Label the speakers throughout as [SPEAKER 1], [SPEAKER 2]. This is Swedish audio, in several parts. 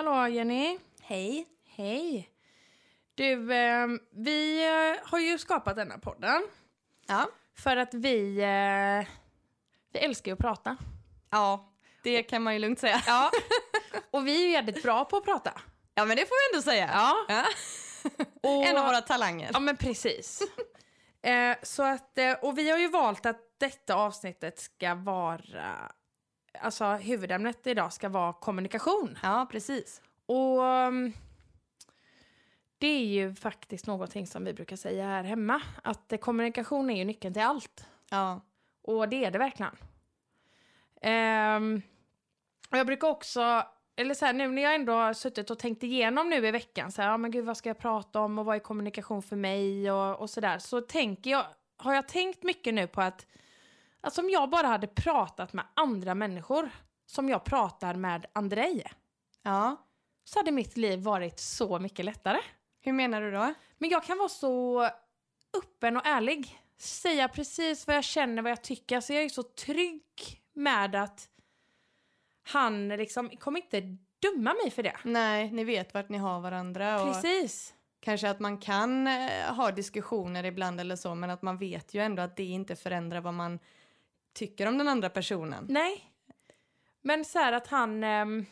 [SPEAKER 1] idag Jenny.
[SPEAKER 2] Hej.
[SPEAKER 1] Hej. Du, eh, vi eh, har ju skapat denna podden
[SPEAKER 2] Ja.
[SPEAKER 1] för att vi, eh, vi älskar ju att prata.
[SPEAKER 2] Ja, det kan man ju lugnt säga. Ja,
[SPEAKER 1] Och vi är ju jävligt bra på att prata.
[SPEAKER 2] ja men det får vi ändå säga.
[SPEAKER 1] Ja.
[SPEAKER 2] Ja.
[SPEAKER 1] Och,
[SPEAKER 2] En av våra talanger.
[SPEAKER 1] Ja men precis. eh, så att, eh, och vi har ju valt att detta avsnittet ska vara, alltså huvudämnet idag ska vara kommunikation.
[SPEAKER 2] Ja, precis.
[SPEAKER 1] Och um, det är ju faktiskt någonting som vi brukar säga här hemma. Att eh, kommunikation är ju nyckeln till allt.
[SPEAKER 2] Ja.
[SPEAKER 1] Och det är det verkligen. Ehm, och jag brukar också, eller så här, nu när jag ändå har suttit och tänkt igenom nu i veckan, så här, ja men gud vad ska jag prata om och vad är kommunikation för mig och, och sådär. Så tänker jag, har jag tänkt mycket nu på att, att om jag bara hade pratat med andra människor, som jag pratar med Andrej
[SPEAKER 2] ja.
[SPEAKER 1] så hade mitt liv varit så mycket lättare.
[SPEAKER 2] Hur menar du då?
[SPEAKER 1] Men jag kan vara så öppen och ärlig. Säga precis vad jag känner, vad jag tycker. Alltså jag är så trygg med att han liksom kommer inte döma mig för det.
[SPEAKER 2] Nej, ni vet vart ni har varandra. Och
[SPEAKER 1] Precis.
[SPEAKER 2] kanske att man kan eh, ha diskussioner ibland eller så men att man vet ju ändå att det inte förändrar vad man tycker om den andra personen.
[SPEAKER 1] Nej. Men så här att han... ehm,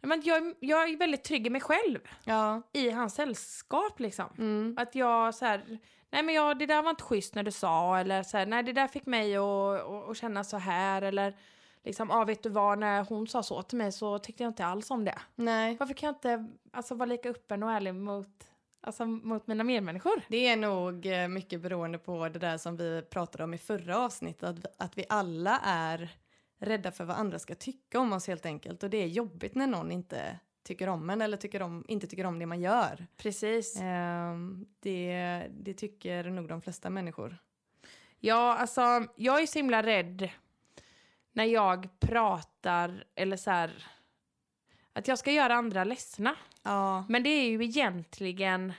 [SPEAKER 1] men jag, jag är väldigt trygg i mig själv,
[SPEAKER 2] Ja.
[SPEAKER 1] i hans sällskap liksom.
[SPEAKER 2] Mm.
[SPEAKER 1] Att jag så här, nej men jag, det där var inte schysst när du sa eller så här, nej det där fick mig att, att, att känna så här eller liksom, ja ah, vet du vad, när hon sa så till mig så tyckte jag inte alls om det.
[SPEAKER 2] Nej.
[SPEAKER 1] Varför kan jag inte alltså, vara lika öppen och ärlig mot, alltså, mot mina medmänniskor?
[SPEAKER 2] Det är nog eh, mycket beroende på det där som vi pratade om i förra avsnittet, att vi, att vi alla är rädda för vad andra ska tycka om oss helt enkelt och det är jobbigt när någon inte tycker om en eller tycker om, inte tycker om det man gör.
[SPEAKER 1] Precis.
[SPEAKER 2] Ehm, det, det tycker nog de flesta människor.
[SPEAKER 1] Ja, alltså jag är så himla rädd när jag pratar eller så här, att jag ska göra andra ledsna.
[SPEAKER 2] Ja,
[SPEAKER 1] Men det är ju egentligen,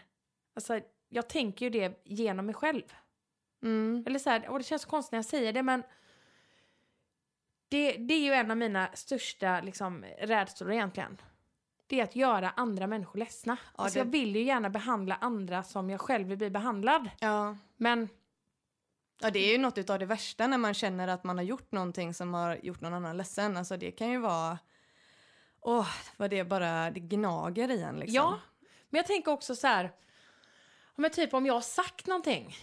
[SPEAKER 1] alltså jag tänker ju det genom mig själv.
[SPEAKER 2] mm.
[SPEAKER 1] Eller så här, och det känns så konstigt när jag säger det men det, det är ju en av mina största liksom, rädslor egentligen. Det är att göra andra människor ledsna.
[SPEAKER 2] Ja,
[SPEAKER 1] alltså
[SPEAKER 2] det-
[SPEAKER 1] jag vill ju gärna behandla andra som jag själv vill bli behandlad.
[SPEAKER 2] ja.
[SPEAKER 1] Men
[SPEAKER 2] ja det är ju något av det värsta när man känner att man har gjort någonting som har gjort någon annan ledsen. Alltså det kan ju vara, åh, vad det bara, det gnager i en liksom.
[SPEAKER 1] ja, men jag tänker också så här. ja, Men typ om jag har sagt någonting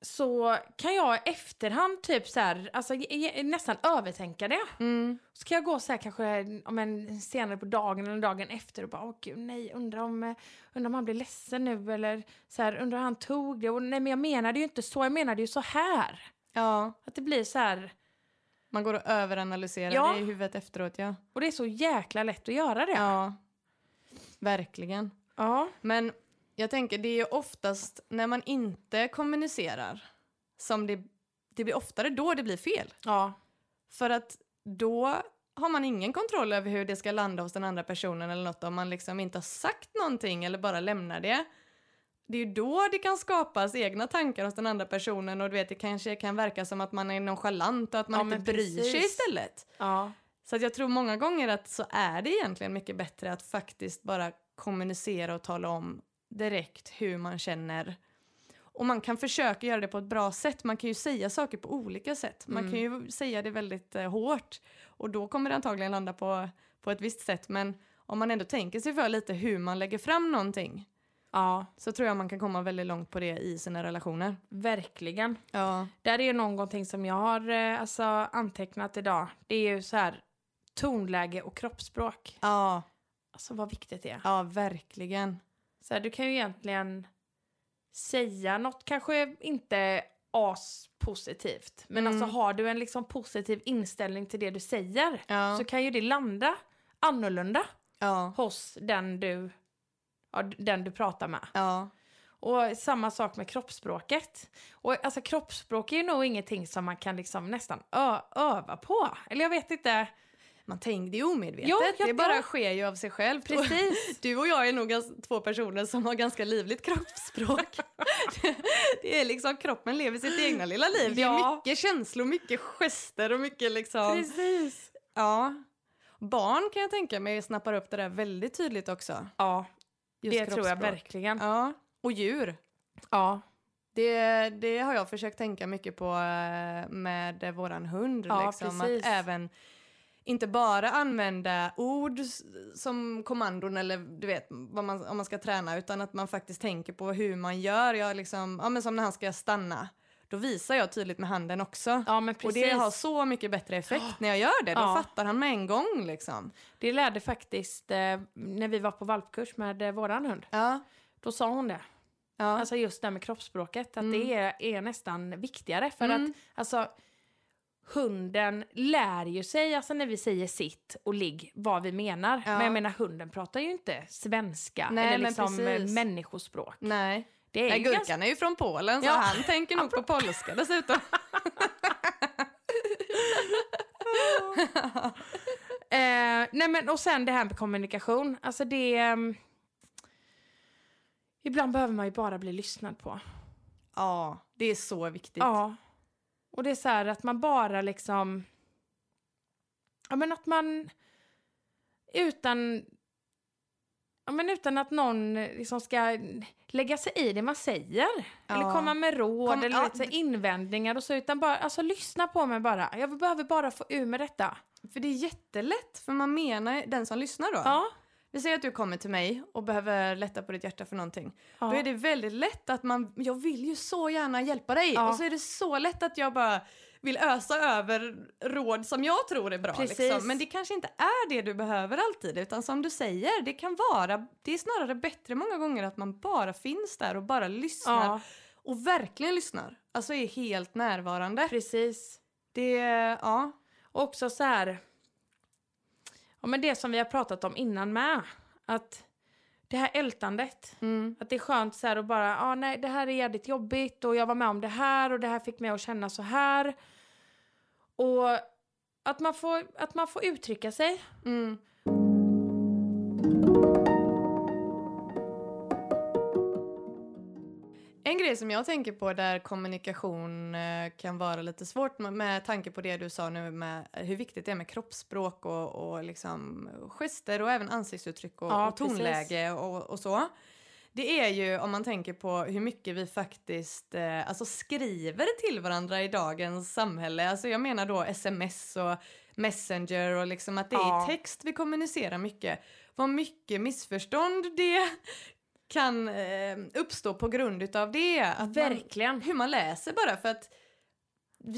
[SPEAKER 1] så kan jag i efterhand typ så här, alltså, ge- ge- nästan övertänka det.
[SPEAKER 2] Mm.
[SPEAKER 1] Så kan jag gå så här kanske om en, senare på dagen eller dagen efter och bara åh gud nej undrar om, eh, undrar om han blir ledsen nu eller så här undrar hur han tog det och nej men jag menade ju inte så jag menade ju så här.
[SPEAKER 2] Ja.
[SPEAKER 1] Att det blir så här
[SPEAKER 2] Man går och överanalyserar
[SPEAKER 1] Ja.
[SPEAKER 2] det i huvudet efteråt, ja.
[SPEAKER 1] och det är så jäkla lätt att göra det.
[SPEAKER 2] Ja, verkligen.
[SPEAKER 1] ja.
[SPEAKER 2] Men jag tänker, det är ju oftast när man inte kommunicerar som det, det blir oftare då det blir fel.
[SPEAKER 1] Ja.
[SPEAKER 2] För att då har man ingen kontroll över hur det ska landa hos den andra personen eller något om man liksom inte har sagt någonting eller bara lämnar det. Det är ju då det kan skapas egna tankar hos den andra personen och du vet, det kanske kan verka som att man är nonchalant och att man
[SPEAKER 1] Ja,
[SPEAKER 2] inte
[SPEAKER 1] men
[SPEAKER 2] bryr sig
[SPEAKER 1] precis.
[SPEAKER 2] istället.
[SPEAKER 1] ja.
[SPEAKER 2] Så att jag tror många gånger att så är det egentligen mycket bättre att faktiskt bara kommunicera och tala om direkt hur man känner. Och man kan försöka göra det på ett bra sätt. Man kan ju säga saker på olika sätt. Man
[SPEAKER 1] Mm.
[SPEAKER 2] kan ju säga det väldigt eh, hårt och då kommer det antagligen landa på, på ett visst sätt. Men om man ändå tänker sig för lite hur man lägger fram någonting
[SPEAKER 1] Ja,
[SPEAKER 2] så tror jag man kan komma väldigt långt på det i sina relationer.
[SPEAKER 1] verkligen.
[SPEAKER 2] Ja.
[SPEAKER 1] Där är ju någonting som jag har eh, alltså, antecknat idag. Det är ju så här tonläge och kroppsspråk.
[SPEAKER 2] Ja,
[SPEAKER 1] Alltså vad viktigt det är.
[SPEAKER 2] ja verkligen.
[SPEAKER 1] Så här, du kan ju egentligen säga något, kanske inte aspositivt, men
[SPEAKER 2] Mm.
[SPEAKER 1] alltså har du en liksom positiv inställning till det du säger
[SPEAKER 2] Ja,
[SPEAKER 1] så kan ju det landa annorlunda
[SPEAKER 2] ja,
[SPEAKER 1] hos den du, ja, d- den du pratar med.
[SPEAKER 2] ja.
[SPEAKER 1] Och samma sak med kroppsspråket. Och alltså kroppsspråk är ju nog ingenting som man kan liksom nästan ö- öva på. Eller jag vet inte.
[SPEAKER 2] Man tänker, det är omedvetet.
[SPEAKER 1] Ja, ja,
[SPEAKER 2] det bara
[SPEAKER 1] ja.
[SPEAKER 2] sker ju av sig självt. Och
[SPEAKER 1] Precis.
[SPEAKER 2] Du och jag är nog gans- två personer som har ganska livligt kroppsspråk. det är liksom kroppen lever sitt egna lilla liv. Det
[SPEAKER 1] Ja.
[SPEAKER 2] är mycket känslor, mycket gester och mycket liksom...
[SPEAKER 1] Precis.
[SPEAKER 2] Ja. Barn kan jag tänka mig snappar upp det där väldigt tydligt också.
[SPEAKER 1] Ja,
[SPEAKER 2] Just
[SPEAKER 1] det tror jag
[SPEAKER 2] kroppsspråk.
[SPEAKER 1] verkligen.
[SPEAKER 2] Ja, och djur.
[SPEAKER 1] Ja.
[SPEAKER 2] Det, det har jag försökt tänka mycket på eh, med eh, våran hund.
[SPEAKER 1] Ja,
[SPEAKER 2] liksom,
[SPEAKER 1] precis.
[SPEAKER 2] att även inte bara använda ord s- som kommandon eller du vet vad man, om man ska träna utan att man faktiskt tänker på hur man gör. Jag liksom, ja, men som när han ska stanna, då visar jag tydligt med handen också.
[SPEAKER 1] ja, men precis.
[SPEAKER 2] Och det har så mycket bättre effekt när jag gör det. Då
[SPEAKER 1] Ja.
[SPEAKER 2] fattar han med en gång liksom.
[SPEAKER 1] Det lärde faktiskt eh, när vi var på valpkurs med eh, våran hund.
[SPEAKER 2] Ja,
[SPEAKER 1] Då sa hon det.
[SPEAKER 2] ja.
[SPEAKER 1] Alltså just det här med kroppsspråket. Att
[SPEAKER 2] Mm.
[SPEAKER 1] det är, är nästan viktigare. För
[SPEAKER 2] Mm.
[SPEAKER 1] att alltså, hunden lär ju sig, alltså när vi säger sitt och ligg, vad vi menar.
[SPEAKER 2] Ja.
[SPEAKER 1] Men jag menar hunden pratar ju inte svenska.
[SPEAKER 2] Nej,
[SPEAKER 1] eller
[SPEAKER 2] men
[SPEAKER 1] liksom eh,
[SPEAKER 2] precis.
[SPEAKER 1] människospråk.
[SPEAKER 2] Nej.
[SPEAKER 1] Det är
[SPEAKER 2] Nej,
[SPEAKER 1] ju
[SPEAKER 2] Gurkan
[SPEAKER 1] ganska-
[SPEAKER 2] är ju från Polen så
[SPEAKER 1] Ja.
[SPEAKER 2] han tänker nog på polska dessutom.
[SPEAKER 1] Eh, nej men och sen det här med kommunikation. Alltså det... ehm, ibland behöver man ju bara bli lyssnad på.
[SPEAKER 2] Ja, det är så viktigt.
[SPEAKER 1] Ja. Och det är så här att man bara liksom... Ja men att man... Utan... Ja men utan att någon liksom ska lägga sig i det man säger. Eller
[SPEAKER 2] Ja.
[SPEAKER 1] komma med råd
[SPEAKER 2] Kom-
[SPEAKER 1] eller
[SPEAKER 2] ja,
[SPEAKER 1] lite så här invändningar och så. Utan bara, alltså lyssna på mig bara. Jag behöver bara få ur med detta.
[SPEAKER 2] För det är jättelätt, för man menar den som lyssnar då.
[SPEAKER 1] Ja.
[SPEAKER 2] Vi säger att du kommer till mig och behöver lätta på ditt hjärta för någonting.
[SPEAKER 1] ja.
[SPEAKER 2] Då är det väldigt lätt att man, jag vill ju så gärna hjälpa dig.
[SPEAKER 1] Ja.
[SPEAKER 2] Och så är det så lätt att jag bara vill ösa över råd som jag tror är bra.
[SPEAKER 1] Precis.
[SPEAKER 2] Liksom. Men det kanske inte är det du behöver alltid. Utan som du säger, det kan vara, det är snarare bättre många gånger att man bara finns där och bara lyssnar.
[SPEAKER 1] ja,
[SPEAKER 2] Och verkligen lyssnar. Alltså är helt närvarande.
[SPEAKER 1] precis.
[SPEAKER 2] Det, ja.
[SPEAKER 1] Och också så här... Ja, men det som vi har pratat om innan med. Att det här ältandet.
[SPEAKER 2] Mm.
[SPEAKER 1] Att det är skönt så här att bara, ah, nej det här är jävligt jobbigt och jag var med om det här och det här fick mig att känna så här. Och att man får, att man får uttrycka sig.
[SPEAKER 2] Mm. En grej som jag tänker på där kommunikation eh, kan vara lite svårt med, med tanke på det du sa nu med hur viktigt det är med kroppsspråk och, och liksom gester och även ansiktsuttryck och,
[SPEAKER 1] Ja,
[SPEAKER 2] och tonläge och, och så. Det är ju om man tänker på hur mycket vi faktiskt eh, alltså skriver till varandra i dagens samhälle. Alltså jag menar då sms och messenger och liksom att det
[SPEAKER 1] Ja.
[SPEAKER 2] är i text vi kommunicerar mycket. Vad mycket missförstånd det kan eh, uppstå på grund utav det. Att man,
[SPEAKER 1] Verkligen.
[SPEAKER 2] hur man läser bara för att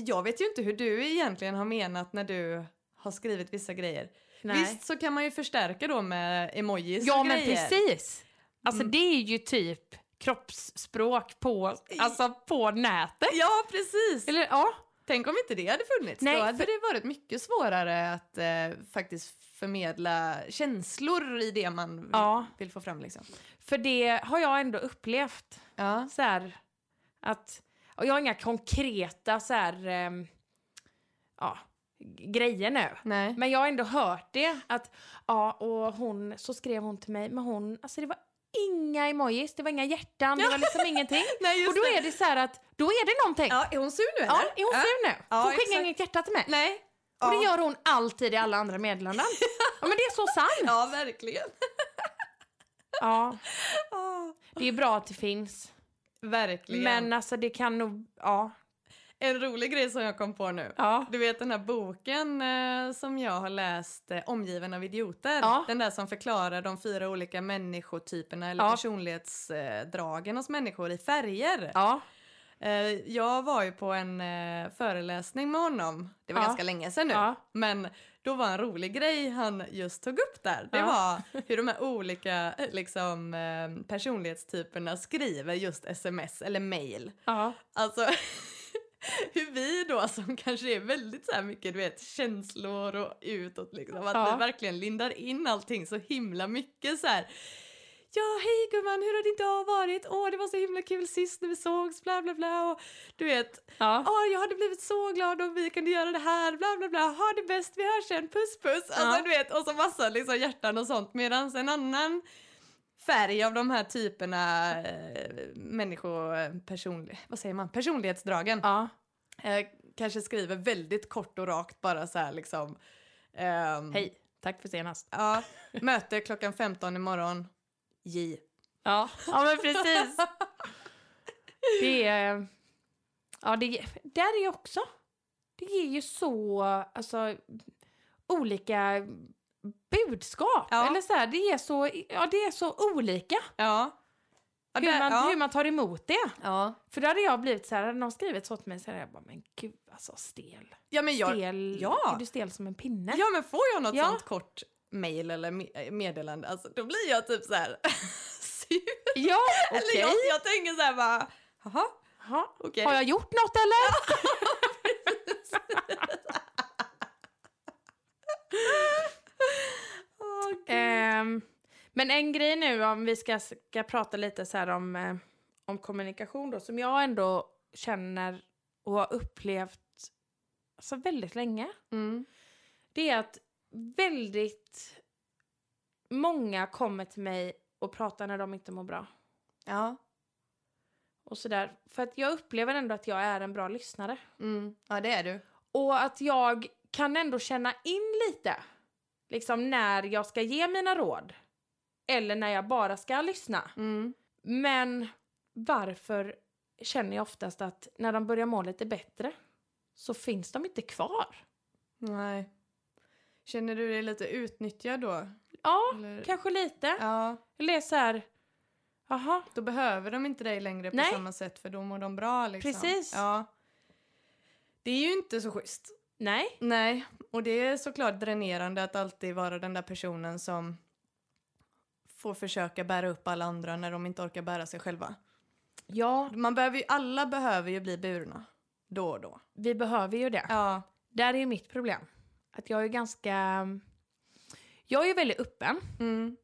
[SPEAKER 2] jag vet ju inte hur du egentligen har menat när du har skrivit vissa grejer.
[SPEAKER 1] Nej.
[SPEAKER 2] Visst så kan man ju förstärka då med emojis
[SPEAKER 1] ja
[SPEAKER 2] och
[SPEAKER 1] men
[SPEAKER 2] grejer.
[SPEAKER 1] precis. Alltså
[SPEAKER 2] Mm.
[SPEAKER 1] det är ju typ kroppsspråk på, alltså på nätet.
[SPEAKER 2] Ja precis!
[SPEAKER 1] Eller ja.
[SPEAKER 2] Tänk om inte det hade funnits.
[SPEAKER 1] Nej,
[SPEAKER 2] då hade
[SPEAKER 1] för-
[SPEAKER 2] det varit mycket svårare att eh, faktiskt förmedla känslor i det man vill,
[SPEAKER 1] Ja.
[SPEAKER 2] vill få fram. Liksom.
[SPEAKER 1] För det har jag ändå upplevt.
[SPEAKER 2] Ja.
[SPEAKER 1] så här, att, och jag har inga konkreta så här, ehm, ja, g- grejer nu.
[SPEAKER 2] Nej.
[SPEAKER 1] Men jag har ändå hört det. Att, ja, och hon, så skrev hon till mig, men hon, alltså det var inga emojis, det var inga hjärtan, det var liksom ingenting.
[SPEAKER 2] Nej, just
[SPEAKER 1] Och då är det så här att, då är det någonting. Ja,
[SPEAKER 2] Ja, är hon sur nu eller?
[SPEAKER 1] är hon sur nu?
[SPEAKER 2] Ja,
[SPEAKER 1] hon skickar
[SPEAKER 2] exakt.
[SPEAKER 1] inget hjärta till mig.
[SPEAKER 2] Nej.
[SPEAKER 1] Och det
[SPEAKER 2] Ja.
[SPEAKER 1] gör hon alltid i alla andra meddelanden. Ja, men det är så sant.
[SPEAKER 2] Ja, verkligen.
[SPEAKER 1] Ja, det är bra att det finns.
[SPEAKER 2] Verkligen.
[SPEAKER 1] Men alltså det kan nog, ja.
[SPEAKER 2] En rolig grej som jag kom på nu.
[SPEAKER 1] Ja,
[SPEAKER 2] Du vet den här boken eh, som jag har läst, eh, Omgiven av idioter.
[SPEAKER 1] Ja.
[SPEAKER 2] Den där som förklarar de fyra olika människotyperna eller
[SPEAKER 1] Ja.
[SPEAKER 2] personlighetsdragen hos människor i färger.
[SPEAKER 1] ja.
[SPEAKER 2] Eh, jag var ju på en eh, föreläsning med honom, det var
[SPEAKER 1] Ja.
[SPEAKER 2] ganska länge sedan nu,
[SPEAKER 1] Ja.
[SPEAKER 2] men då var en rolig grej han just tog upp där. Det
[SPEAKER 1] Ja.
[SPEAKER 2] var hur de här olika eh, liksom, eh, personlighetstyperna skriver just sms eller mail.
[SPEAKER 1] ja.
[SPEAKER 2] Alltså hur vi då som kanske är väldigt så här mycket du vet känslor och utåt liksom att
[SPEAKER 1] Ja.
[SPEAKER 2] vi verkligen lindar in allting så himla mycket så här. Ja hej gumman hur har din dag varit? Åh det var så himla kul sist när vi sågs bla bla bla och du vet
[SPEAKER 1] ja.
[SPEAKER 2] Åh, jag hade blivit så glad om vi kunde göra det här, bla bla bla, ha det bäst, vi hörs sen, puss puss. Alltså
[SPEAKER 1] Ja.
[SPEAKER 2] du vet, och så massa liksom hjärtan och sånt. Medan en annan färg av de här typerna eh, människopersonlig, vad säger man, personlighetsdragen
[SPEAKER 1] Ja,
[SPEAKER 2] eh, kanske skriver väldigt kort och rakt bara så här liksom. ehm,
[SPEAKER 1] hej. Tack för senast.
[SPEAKER 2] Ja, möte klockan 15 imorgon. J.
[SPEAKER 1] Ja, ja men precis. det är... Ja, det, där är också. Det ger ju så, alltså, olika budskap.
[SPEAKER 2] Ja.
[SPEAKER 1] Eller så här, det är så, ja det är så olika
[SPEAKER 2] Ja. Ja,
[SPEAKER 1] hur,
[SPEAKER 2] där-
[SPEAKER 1] man,
[SPEAKER 2] ja.
[SPEAKER 1] hur man tar emot det.
[SPEAKER 2] ja.
[SPEAKER 1] För då hade jag blivit så här, hade någon skrivit så till mig så hade jag bara, men gud alltså stel.
[SPEAKER 2] ja, men jag,
[SPEAKER 1] Stel,
[SPEAKER 2] ja.
[SPEAKER 1] är du stel som en pinne?
[SPEAKER 2] Ja, men får jag något
[SPEAKER 1] Ja.
[SPEAKER 2] sånt kort mejl eller me- meddelande, alltså, då blir jag typ så här sur.
[SPEAKER 1] ja
[SPEAKER 2] Eller
[SPEAKER 1] okej.
[SPEAKER 2] jag, jag tänker så här bara, jaha,
[SPEAKER 1] Jaha.
[SPEAKER 2] okej.
[SPEAKER 1] Har jag gjort något eller?
[SPEAKER 2] Åh, gud.
[SPEAKER 1] Ehm, men en grej nu om vi ska, ska prata lite så här om, eh, om kommunikation då, som jag ändå känner och har upplevt alltså väldigt länge.
[SPEAKER 2] Mm.
[SPEAKER 1] Det är att väldigt många kommer till mig och pratar när de inte mår bra.
[SPEAKER 2] Ja.
[SPEAKER 1] Och sådär. För att jag upplever ändå att jag är en bra lyssnare.
[SPEAKER 2] Mm. ja, det är du.
[SPEAKER 1] Och att jag kan ändå känna in lite. Liksom när jag ska ge mina råd. Eller när jag bara ska lyssna.
[SPEAKER 2] Mm.
[SPEAKER 1] Men varför känner jag oftast att när de börjar må lite bättre så finns de inte kvar?
[SPEAKER 2] Nej. Känner du dig lite utnyttjad då?
[SPEAKER 1] Ja,
[SPEAKER 2] Eller?
[SPEAKER 1] kanske lite.
[SPEAKER 2] Ja,
[SPEAKER 1] Eller är så här, jaha,
[SPEAKER 2] då behöver de inte dig längre på
[SPEAKER 1] Nej.
[SPEAKER 2] samma sätt för då mår de bra. Liksom.
[SPEAKER 1] Precis.
[SPEAKER 2] Ja. Det är ju inte så schysst.
[SPEAKER 1] nej,
[SPEAKER 2] Nej, och det är såklart dränerande att alltid vara den där personen som får försöka bära upp alla andra när de inte orkar bära sig själva.
[SPEAKER 1] ja,
[SPEAKER 2] Man behöver ju, alla behöver ju bli burna då och då.
[SPEAKER 1] vi behöver ju det.
[SPEAKER 2] Ja.
[SPEAKER 1] Där är ju mitt problem. Att jag är ganska, jag är ju väldigt öppen.
[SPEAKER 2] Mm.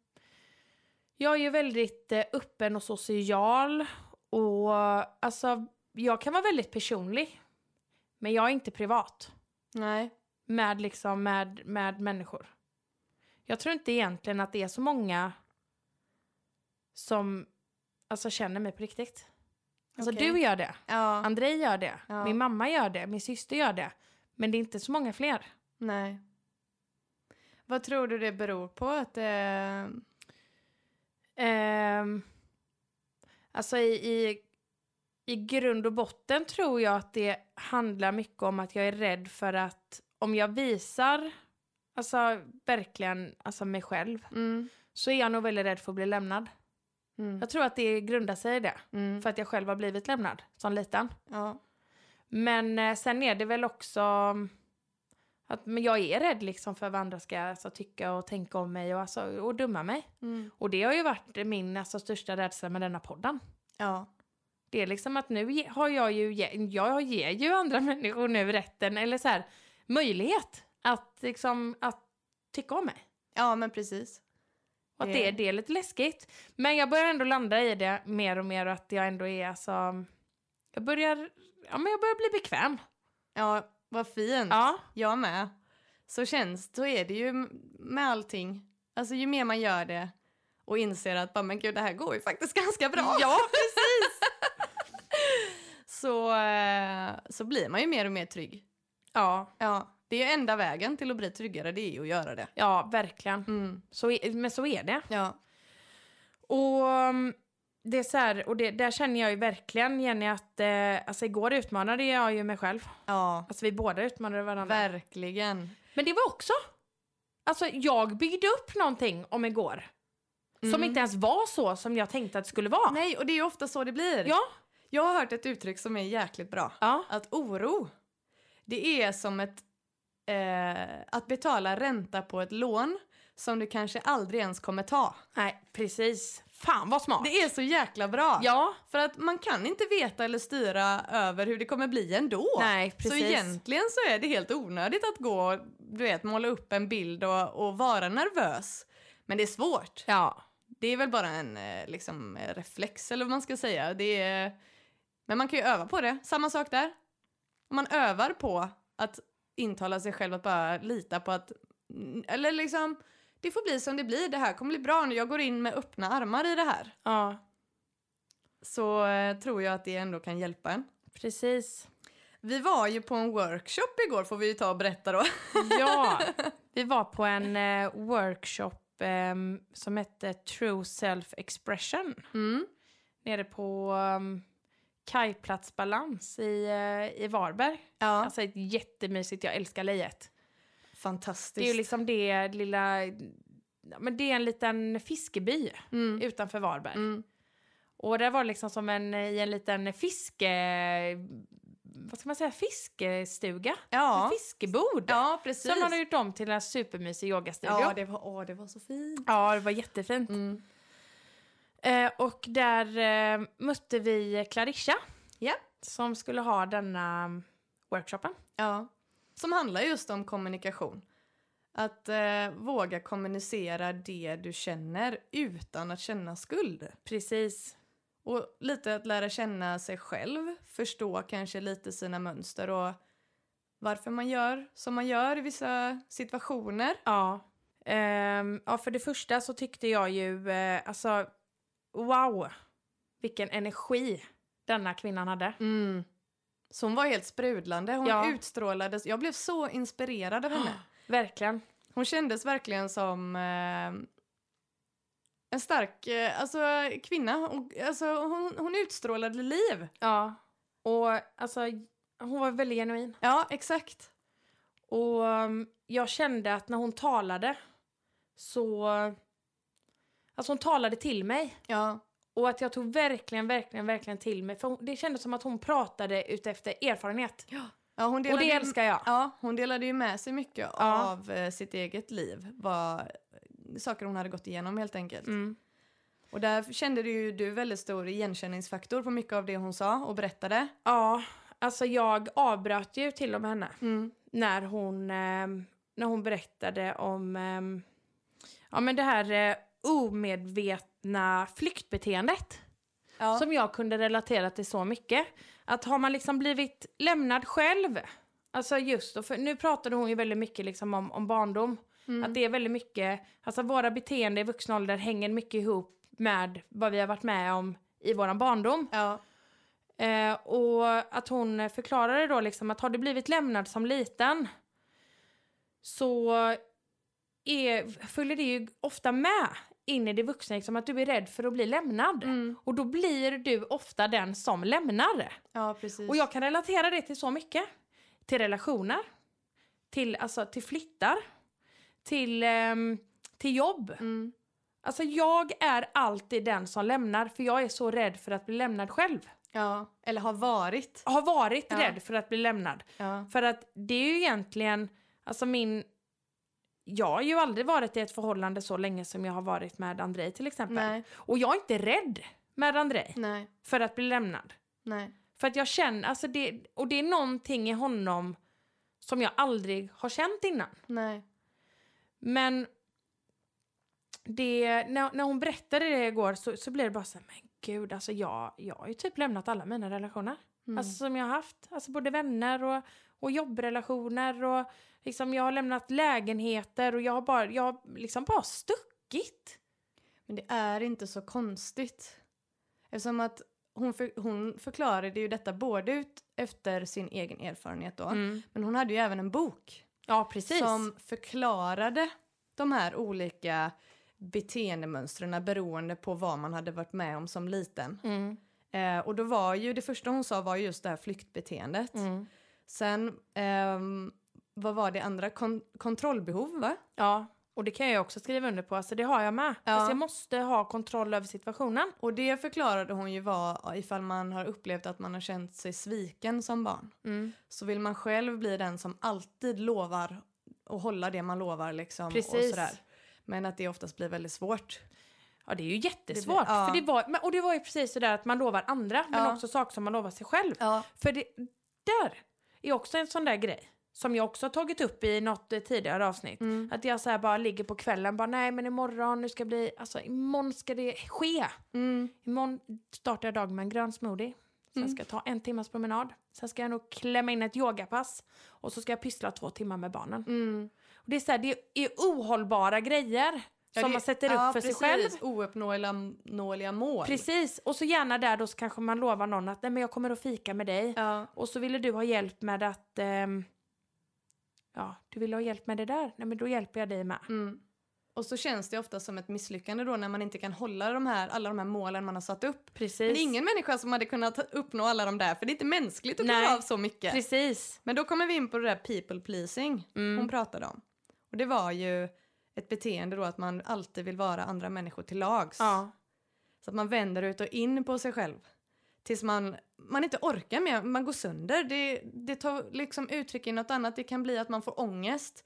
[SPEAKER 1] Jag är ju väldigt eh, öppen och social och alltså jag kan vara väldigt personlig. Men jag är inte privat.
[SPEAKER 2] Nej.
[SPEAKER 1] med, liksom, med, med människor. Jag tror inte egentligen att det är så många som alltså, känner mig på riktigt. Alltså
[SPEAKER 2] Okej.
[SPEAKER 1] du gör det,
[SPEAKER 2] Ja.
[SPEAKER 1] Andrei gör det,
[SPEAKER 2] Ja.
[SPEAKER 1] min mamma gör det, min syster gör det. Men det är inte så många fler.
[SPEAKER 2] Nej. Vad tror du det beror på att eh, det...
[SPEAKER 1] Ehm, alltså i, i, i grund och botten tror jag att det handlar mycket om att jag är rädd för att om jag visar alltså verkligen alltså mig själv
[SPEAKER 2] Mm.
[SPEAKER 1] så är jag nog väldigt rädd för att bli lämnad.
[SPEAKER 2] Mm.
[SPEAKER 1] Jag tror att det grundar sig i det.
[SPEAKER 2] Mm.
[SPEAKER 1] För att jag själv har blivit lämnad som liten.
[SPEAKER 2] Ja.
[SPEAKER 1] Men eh, sen är det väl också mm, att men jag är rädd liksom för vad andra ska alltså, tycka och tänka om mig och, alltså, och döma mig.
[SPEAKER 2] Mm.
[SPEAKER 1] Och det har ju varit min alltså, största rädsla med denna podden.
[SPEAKER 2] Ja.
[SPEAKER 1] Det är liksom att nu ge- har jag ju, ge- jag ger ju andra människor nu rätten eller så här möjlighet att liksom att tycka om mig.
[SPEAKER 2] Ja, men precis. Eh,
[SPEAKER 1] Och att
[SPEAKER 2] Det-
[SPEAKER 1] det, det är lite läskigt. Men jag börjar ändå landa i det mer och mer och att jag ändå är alltså... Jag börjar, ja, men jag börjar bli bekväm.
[SPEAKER 2] Ja, vad fint.
[SPEAKER 1] Ja,
[SPEAKER 2] Jag med. Så känns så är det ju m- med allting. Alltså ju mer man gör det och inser att bara, men gud, det här går ju faktiskt ganska bra.
[SPEAKER 1] Ja,
[SPEAKER 2] precis. så, eh, så blir man ju mer och mer trygg.
[SPEAKER 1] ja,
[SPEAKER 2] Ja, det är ju enda vägen till att bli tryggare, det är ju att göra det.
[SPEAKER 1] ja verkligen.
[SPEAKER 2] Mm.
[SPEAKER 1] Så, är- men så är det.
[SPEAKER 2] Ja.
[SPEAKER 1] Och um, det är så här, och det, där känner jag ju verkligen Jenny att eh, alltså igår utmanade jag ju mig själv.
[SPEAKER 2] ja,
[SPEAKER 1] Alltså vi båda utmanade varandra.
[SPEAKER 2] verkligen.
[SPEAKER 1] men det var också, alltså jag byggde upp någonting om igår. Som
[SPEAKER 2] Mm.
[SPEAKER 1] inte ens var så som jag tänkte att det skulle vara.
[SPEAKER 2] Nej, och det är ju ofta så det blir.
[SPEAKER 1] Ja.
[SPEAKER 2] Jag har hört ett uttryck som är jäkligt bra.
[SPEAKER 1] Ja.
[SPEAKER 2] Att oro, det är som ett, eh, att betala ränta på ett lån som du kanske aldrig ens kommer ta.
[SPEAKER 1] Nej, precis. Fan vad smart.
[SPEAKER 2] Det är så jäkla bra.
[SPEAKER 1] Ja.
[SPEAKER 2] För att man kan inte veta eller styra över hur det kommer bli ändå.
[SPEAKER 1] Nej,
[SPEAKER 2] Så
[SPEAKER 1] precis.
[SPEAKER 2] egentligen så är det helt onödigt att gå och, du vet, måla upp en bild och, och vara nervös. Men det är svårt.
[SPEAKER 1] Ja.
[SPEAKER 2] Det är väl bara en eh, liksom, eh, reflex eller vad man ska säga. Det är, men man kan ju öva på det. Samma sak där. Om man övar på att intala sig själv att bara lita på att... Eller liksom, det får bli som det blir. Det här kommer bli bra nu. Jag går in med öppna armar i det här.
[SPEAKER 1] Ja,
[SPEAKER 2] Så eh, tror jag att det ändå kan hjälpa en.
[SPEAKER 1] precis.
[SPEAKER 2] Vi var ju på en workshop igår får vi ju ta och berätta då.
[SPEAKER 1] Ja, vi var på en eh, workshop ehm, som hette True Self Expression
[SPEAKER 2] Mm.
[SPEAKER 1] nere på um, kajplatsbalans i, eh, i Varberg.
[SPEAKER 2] Ja,
[SPEAKER 1] Alltså ett jättemysigt, jag älskar lejet.
[SPEAKER 2] fantastiskt.
[SPEAKER 1] Det är ju liksom det lilla, ja, men det är en liten fiskeby
[SPEAKER 2] mm.
[SPEAKER 1] utanför Varberg.
[SPEAKER 2] Mm.
[SPEAKER 1] Och där var det liksom som en, i en liten fiske, vad ska man säga, fiskestuga,
[SPEAKER 2] Ja.
[SPEAKER 1] en fiskebod.
[SPEAKER 2] ja, precis.
[SPEAKER 1] Som man har gjort om till en supermysig yogastudio.
[SPEAKER 2] ja, det var, åh, det var så fint.
[SPEAKER 1] Ja, det var jättefint.
[SPEAKER 2] Mm.
[SPEAKER 1] Eh, och där eh, mötte vi Clarissa.
[SPEAKER 2] Ja.
[SPEAKER 1] Som skulle ha denna mm, workshopen.
[SPEAKER 2] Ja. Som handlar just om kommunikation. Att eh, våga kommunicera det du känner utan att känna skuld.
[SPEAKER 1] Precis.
[SPEAKER 2] Och lite att lära känna sig själv, förstå kanske lite sina mönster och varför man gör som man gör i vissa situationer.
[SPEAKER 1] Ja. Ehm, ja, för det första så tyckte jag ju, eh, alltså, wow, vilken energi denna kvinnan hade.
[SPEAKER 2] Mm. Så hon var helt sprudlande, hon
[SPEAKER 1] Ja.
[SPEAKER 2] utstrålades. Jag blev så inspirerad av henne.
[SPEAKER 1] Verkligen.
[SPEAKER 2] Hon kändes verkligen som eh, en stark eh, alltså, kvinna. Hon, alltså, hon, hon utstrålade liv.
[SPEAKER 1] Ja. Och alltså, hon var väldigt genuin.
[SPEAKER 2] Ja, exakt.
[SPEAKER 1] Och um, jag kände att när hon talade så, alltså hon talade till mig.
[SPEAKER 2] Ja,
[SPEAKER 1] Och att jag tog verkligen, verkligen, verkligen till mig. För hon, det kändes som att hon pratade utefter erfarenhet.
[SPEAKER 2] ja hon
[SPEAKER 1] och
[SPEAKER 2] delade
[SPEAKER 1] det
[SPEAKER 2] ju-
[SPEAKER 1] älskar jag.
[SPEAKER 2] Ja, hon delade ju med sig mycket
[SPEAKER 1] Ja.
[SPEAKER 2] av eh, sitt eget liv. Vad, saker hon hade gått igenom helt enkelt.
[SPEAKER 1] Mm.
[SPEAKER 2] Och där kände du ju du väldigt stor igenkänningsfaktor på mycket av det hon sa och berättade.
[SPEAKER 1] Ja, alltså jag avbröt ju till och med henne när hon, ehm, när hon berättade om ehm, ja, men det här eh, omedvetna flyktbeteendet.
[SPEAKER 2] Ja.
[SPEAKER 1] som jag kunde relatera till så mycket. Att har man liksom blivit lämnad själv, alltså just då, för nu pratade hon ju väldigt mycket liksom om, om barndom,
[SPEAKER 2] Mm.
[SPEAKER 1] att det är väldigt mycket, alltså våra beteenden i vuxen ålder hänger mycket ihop med vad vi har varit med om i våran barndom.
[SPEAKER 2] ja.
[SPEAKER 1] Eh, och att hon förklarade då liksom att har du blivit lämnad som liten så är, följer det ju ofta med in i det vuxna, liksom att du är rädd för att bli lämnad. Och då blir du ofta den som
[SPEAKER 2] Mm.
[SPEAKER 1] lämnar.
[SPEAKER 2] ja, precis.
[SPEAKER 1] Och jag kan relatera det till så mycket. Till relationer, till, alltså, till flyttar, till, ehm, till jobb.
[SPEAKER 2] mm.
[SPEAKER 1] Alltså jag är alltid den som lämnar för jag är så rädd för att bli lämnad själv.
[SPEAKER 2] ja. Eller har varit.
[SPEAKER 1] Har varit
[SPEAKER 2] Ja.
[SPEAKER 1] rädd för att bli lämnad.
[SPEAKER 2] Ja.
[SPEAKER 1] För att det är ju egentligen, alltså min... Jag har ju aldrig varit i ett förhållande så länge som jag har varit med Andrei till exempel.
[SPEAKER 2] Nej,
[SPEAKER 1] Och jag är inte rädd med Andrei
[SPEAKER 2] nej,
[SPEAKER 1] för att bli lämnad.
[SPEAKER 2] nej.
[SPEAKER 1] För att jag känner, alltså det, och det är någonting i honom som jag aldrig har känt innan.
[SPEAKER 2] Nej.
[SPEAKER 1] Men det, när, när hon berättade det igår så, så blev det bara så här, men gud, alltså jag, jag har ju typ lämnat alla mina relationer.
[SPEAKER 2] Mm.
[SPEAKER 1] Alltså som jag har haft, alltså både vänner och, och jobbrelationer och liksom jag har lämnat lägenheter och jag har bara, jag har liksom bara stuckit.
[SPEAKER 2] Men det är inte så konstigt. Eftersom att hon, för, hon förklarade ju detta både ut efter sin egen erfarenhet då. Men hon hade ju även en bok.
[SPEAKER 1] Ja, Mm. precis.
[SPEAKER 2] som förklarade de här olika beteendemönstren beroende på vad man hade varit med om som liten.
[SPEAKER 1] Mm.
[SPEAKER 2] Eh, och då var ju, det första hon sa var ju just det här flyktbeteendet.
[SPEAKER 1] Mm.
[SPEAKER 2] Sen, ehm, vad var det andra? Kon- kontrollbehov va?
[SPEAKER 1] Ja, och det kan jag också skriva under på. Alltså det har jag med.
[SPEAKER 2] Ja.
[SPEAKER 1] Alltså jag måste ha kontroll över situationen.
[SPEAKER 2] Och det förklarade hon ju var ifall man har upplevt att man har känt sig sviken som barn.
[SPEAKER 1] Mm.
[SPEAKER 2] Så vill man själv bli den som alltid lovar och hålla det man lovar liksom. Och
[SPEAKER 1] Precis.
[SPEAKER 2] sådär. Men att det oftast blir väldigt svårt.
[SPEAKER 1] Ja, det är ju jättesvårt.
[SPEAKER 2] Det blir- ja.
[SPEAKER 1] för det var, men, och det var ju precis sådär att man lovar andra, men
[SPEAKER 2] Ja.
[SPEAKER 1] också saker som man lovar sig själv.
[SPEAKER 2] Ja.
[SPEAKER 1] För det där är också en sån där grej som jag också har tagit upp i något eh, tidigare avsnitt.
[SPEAKER 2] Mm.
[SPEAKER 1] Att jag så här bara ligger på kvällen, bara nej men imorgon, nu ska bli, alltså imorgon ska det ske.
[SPEAKER 2] Mm.
[SPEAKER 1] Imorgon startar jag dagen med en grön smoothie. Sen
[SPEAKER 2] Mm.
[SPEAKER 1] ska jag ta en timmas promenad. Sen ska jag nog klämma in ett yogapass. Och så ska jag pyssla två timmar med barnen.
[SPEAKER 2] Mm.
[SPEAKER 1] Och det, är så här, det är ohållbara grejer
[SPEAKER 2] Ja,
[SPEAKER 1] som
[SPEAKER 2] det-
[SPEAKER 1] man sätter upp
[SPEAKER 2] ja,
[SPEAKER 1] för
[SPEAKER 2] precis.
[SPEAKER 1] sig själv.
[SPEAKER 2] Ouppnåeliga nåliga mål.
[SPEAKER 1] Precis, och så gärna där då så kanske man lovar någon att Nej, men jag kommer att fika med dig.
[SPEAKER 2] Ja.
[SPEAKER 1] Och så ville du ha hjälp med att, ehm, ja, du ville ha hjälp med det där. Nej men då hjälper jag dig med.
[SPEAKER 2] Mm. Och så känns det ofta som ett misslyckande då när man inte kan hålla de här, alla de här målen man har satt upp. Men
[SPEAKER 1] Precis.
[SPEAKER 2] det är ingen människa som hade kunnat uppnå alla de där för det är inte mänskligt att
[SPEAKER 1] Nej.
[SPEAKER 2] klara av så mycket.
[SPEAKER 1] Precis.
[SPEAKER 2] Men då kommer vi in på det där people pleasing
[SPEAKER 1] Mm.
[SPEAKER 2] hon pratade om. Och det var ju ett beteende då att man alltid vill vara andra människor till lags.
[SPEAKER 1] Ja.
[SPEAKER 2] Så att man vänder ut och in på sig själv. Tills man, man inte orkar mer, man går sönder. Det, det tar liksom uttryck i något annat. Det kan bli att man får ångest.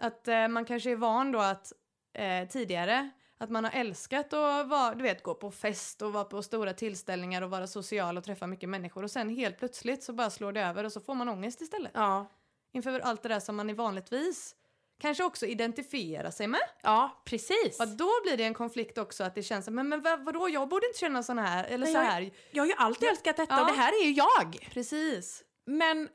[SPEAKER 2] Att eh, man kanske är van då att eh, tidigare, att man har älskat att vara, du vet, gå på fest och vara på stora tillställningar och vara social och träffa mycket människor. Och sen helt plötsligt så bara slår det över och så får man ångest istället.
[SPEAKER 1] Ja.
[SPEAKER 2] Inför allt det där som man är vanligtvis kanske också identifierar sig med.
[SPEAKER 1] Ja, precis.
[SPEAKER 2] Ja, då blir det en konflikt också att det känns som, men, men vad, vadå, jag borde inte känna sån här, eller
[SPEAKER 1] Men
[SPEAKER 2] så
[SPEAKER 1] jag-
[SPEAKER 2] här.
[SPEAKER 1] Jag har ju alltid älskat detta och
[SPEAKER 2] Ja.
[SPEAKER 1] det här är ju jag.
[SPEAKER 2] Precis.
[SPEAKER 1] Men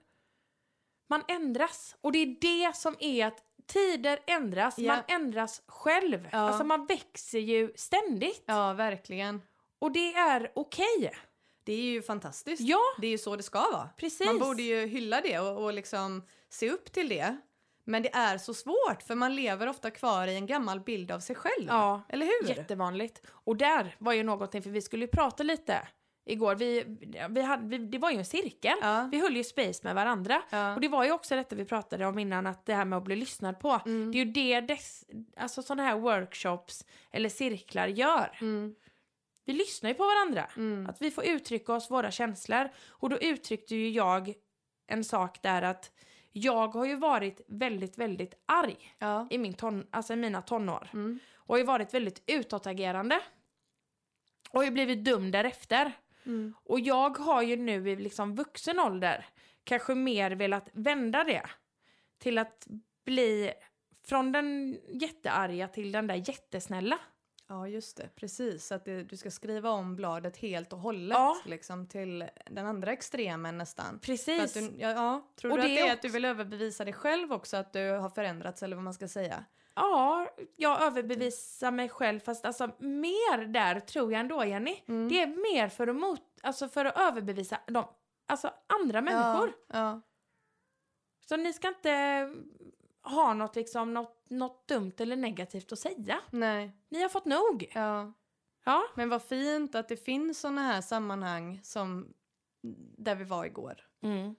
[SPEAKER 1] man ändras och det är det som är att tider ändras,
[SPEAKER 2] Ja.
[SPEAKER 1] man ändras själv.
[SPEAKER 2] Ja.
[SPEAKER 1] Alltså man växer ju ständigt
[SPEAKER 2] Ja, verkligen.
[SPEAKER 1] och det är okej.
[SPEAKER 2] Det är ju fantastiskt.
[SPEAKER 1] Ja,
[SPEAKER 2] Det är ju så det ska vara.
[SPEAKER 1] precis.
[SPEAKER 2] Man borde ju hylla det och, och liksom se upp till det. Men det är så svårt för man lever ofta kvar i en gammal bild av sig själv.
[SPEAKER 1] Ja,
[SPEAKER 2] Eller hur?
[SPEAKER 1] jättevanligt. Och där var ju någonting, för vi skulle ju prata lite igår. Vi, vi hade, vi, det var ju en cirkel.
[SPEAKER 2] Ja.
[SPEAKER 1] Vi höll ju space med varandra.
[SPEAKER 2] Ja.
[SPEAKER 1] Och det var ju också detta vi pratade om innan, att det här med att bli lyssnad på.
[SPEAKER 2] Mm.
[SPEAKER 1] Det är ju det dess, alltså sådana här workshops eller cirklar gör.
[SPEAKER 2] Mm.
[SPEAKER 1] Vi lyssnar ju på varandra.
[SPEAKER 2] Mm.
[SPEAKER 1] Att vi får uttrycka oss, våra känslor. Och då uttryckte ju jag en sak där att jag har ju varit väldigt, väldigt arg
[SPEAKER 2] Ja.
[SPEAKER 1] i, min ton, alltså i mina tonår.
[SPEAKER 2] Mm.
[SPEAKER 1] Och har ju varit väldigt utåtagerande. Och har ju blivit dum därefter.
[SPEAKER 2] Mm.
[SPEAKER 1] Och jag har ju nu i liksom vuxen ålder kanske mer velat vända det till att bli från den jättearga till den där jättesnälla.
[SPEAKER 2] Ja, just det. Precis. Att det, du ska skriva om bladet helt och hållet.
[SPEAKER 1] Ja.
[SPEAKER 2] Liksom, till den andra extremen nästan. För att
[SPEAKER 1] Precis.
[SPEAKER 2] du, ja, ja. Tror
[SPEAKER 1] Och
[SPEAKER 2] du att
[SPEAKER 1] det
[SPEAKER 2] det är
[SPEAKER 1] är
[SPEAKER 2] att du vill överbevisa dig själv också att du har förändrats eller vad man ska säga?
[SPEAKER 1] Ja, jag överbevisar mig själv fast alltså mer där tror jag ändå Jenny.
[SPEAKER 2] Mm.
[SPEAKER 1] Det är mer för att, mot, alltså för att överbevisa de, alltså andra människor.
[SPEAKER 2] Ja,
[SPEAKER 1] Så ni ska inte ha något, liksom, något, något dumt eller negativt att säga.
[SPEAKER 2] nej,
[SPEAKER 1] Ni har fått nog.
[SPEAKER 2] ja.
[SPEAKER 1] Ja,
[SPEAKER 2] Men vad fint att det finns såna här sammanhang som där vi var igår.
[SPEAKER 1] Mm,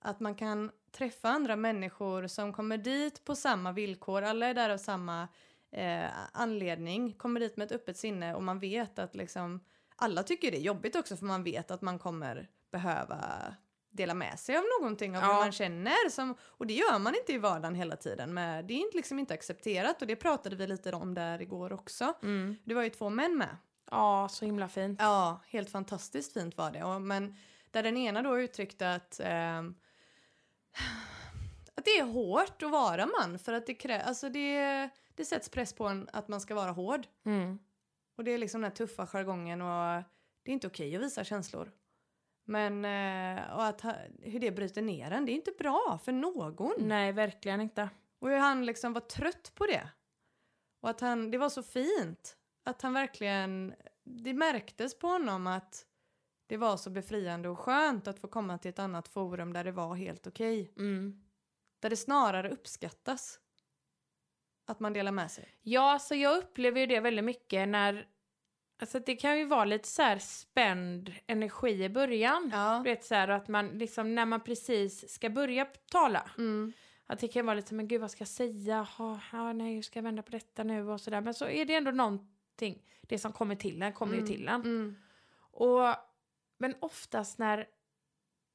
[SPEAKER 2] Att man kan träffa andra människor som kommer dit på samma villkor, alla är där av samma eh, anledning, kommer dit med ett öppet sinne och man vet att liksom alla tycker det är jobbigt också för man vet att man kommer behöva dela med sig av någonting av hur
[SPEAKER 1] Ja.
[SPEAKER 2] man känner. Som, och det gör man inte i vardagen hela tiden. Men det är inte- liksom inte accepterat och det pratade vi lite om där igår också.
[SPEAKER 1] mm.
[SPEAKER 2] Det var ju två män med.
[SPEAKER 1] ja så himla fint.
[SPEAKER 2] Ja, helt fantastiskt fint var det. Och, men där den ena då uttryckte att, ehm, att det är hårt att vara man för att det, krä- alltså det, det sätts press på en att man ska vara hård.
[SPEAKER 1] Mm.
[SPEAKER 2] Och det är liksom den här tuffa jargongen och det är inte okej att visa känslor. Men eh, och att, ha- hur det bryter ner en, det är inte bra för någon.
[SPEAKER 1] Nej, verkligen inte.
[SPEAKER 2] Och hur han liksom var trött på det. Och att han, det var så fint. Att han verkligen, det märktes på honom att det var så befriande och skönt att få komma till ett annat forum där det var helt okej.
[SPEAKER 1] Mm.
[SPEAKER 2] Där det snarare uppskattas. Att man delar med sig.
[SPEAKER 1] Ja, så jag upplever ju det väldigt mycket när... Alltså det kan ju vara lite så här spänd energi i början.
[SPEAKER 2] Ja.
[SPEAKER 1] Du vet så här att man liksom när man precis ska börja p- tala.
[SPEAKER 2] Mm.
[SPEAKER 1] Att det kan vara lite men gud vad ska jag säga? Ja, ja, nej, hur ska jag vända på detta nu och sådär. Men så är det ändå någonting. Det som kommer till en kommer
[SPEAKER 2] Mm.
[SPEAKER 1] ju till en.
[SPEAKER 2] Mm.
[SPEAKER 1] Och, men oftast när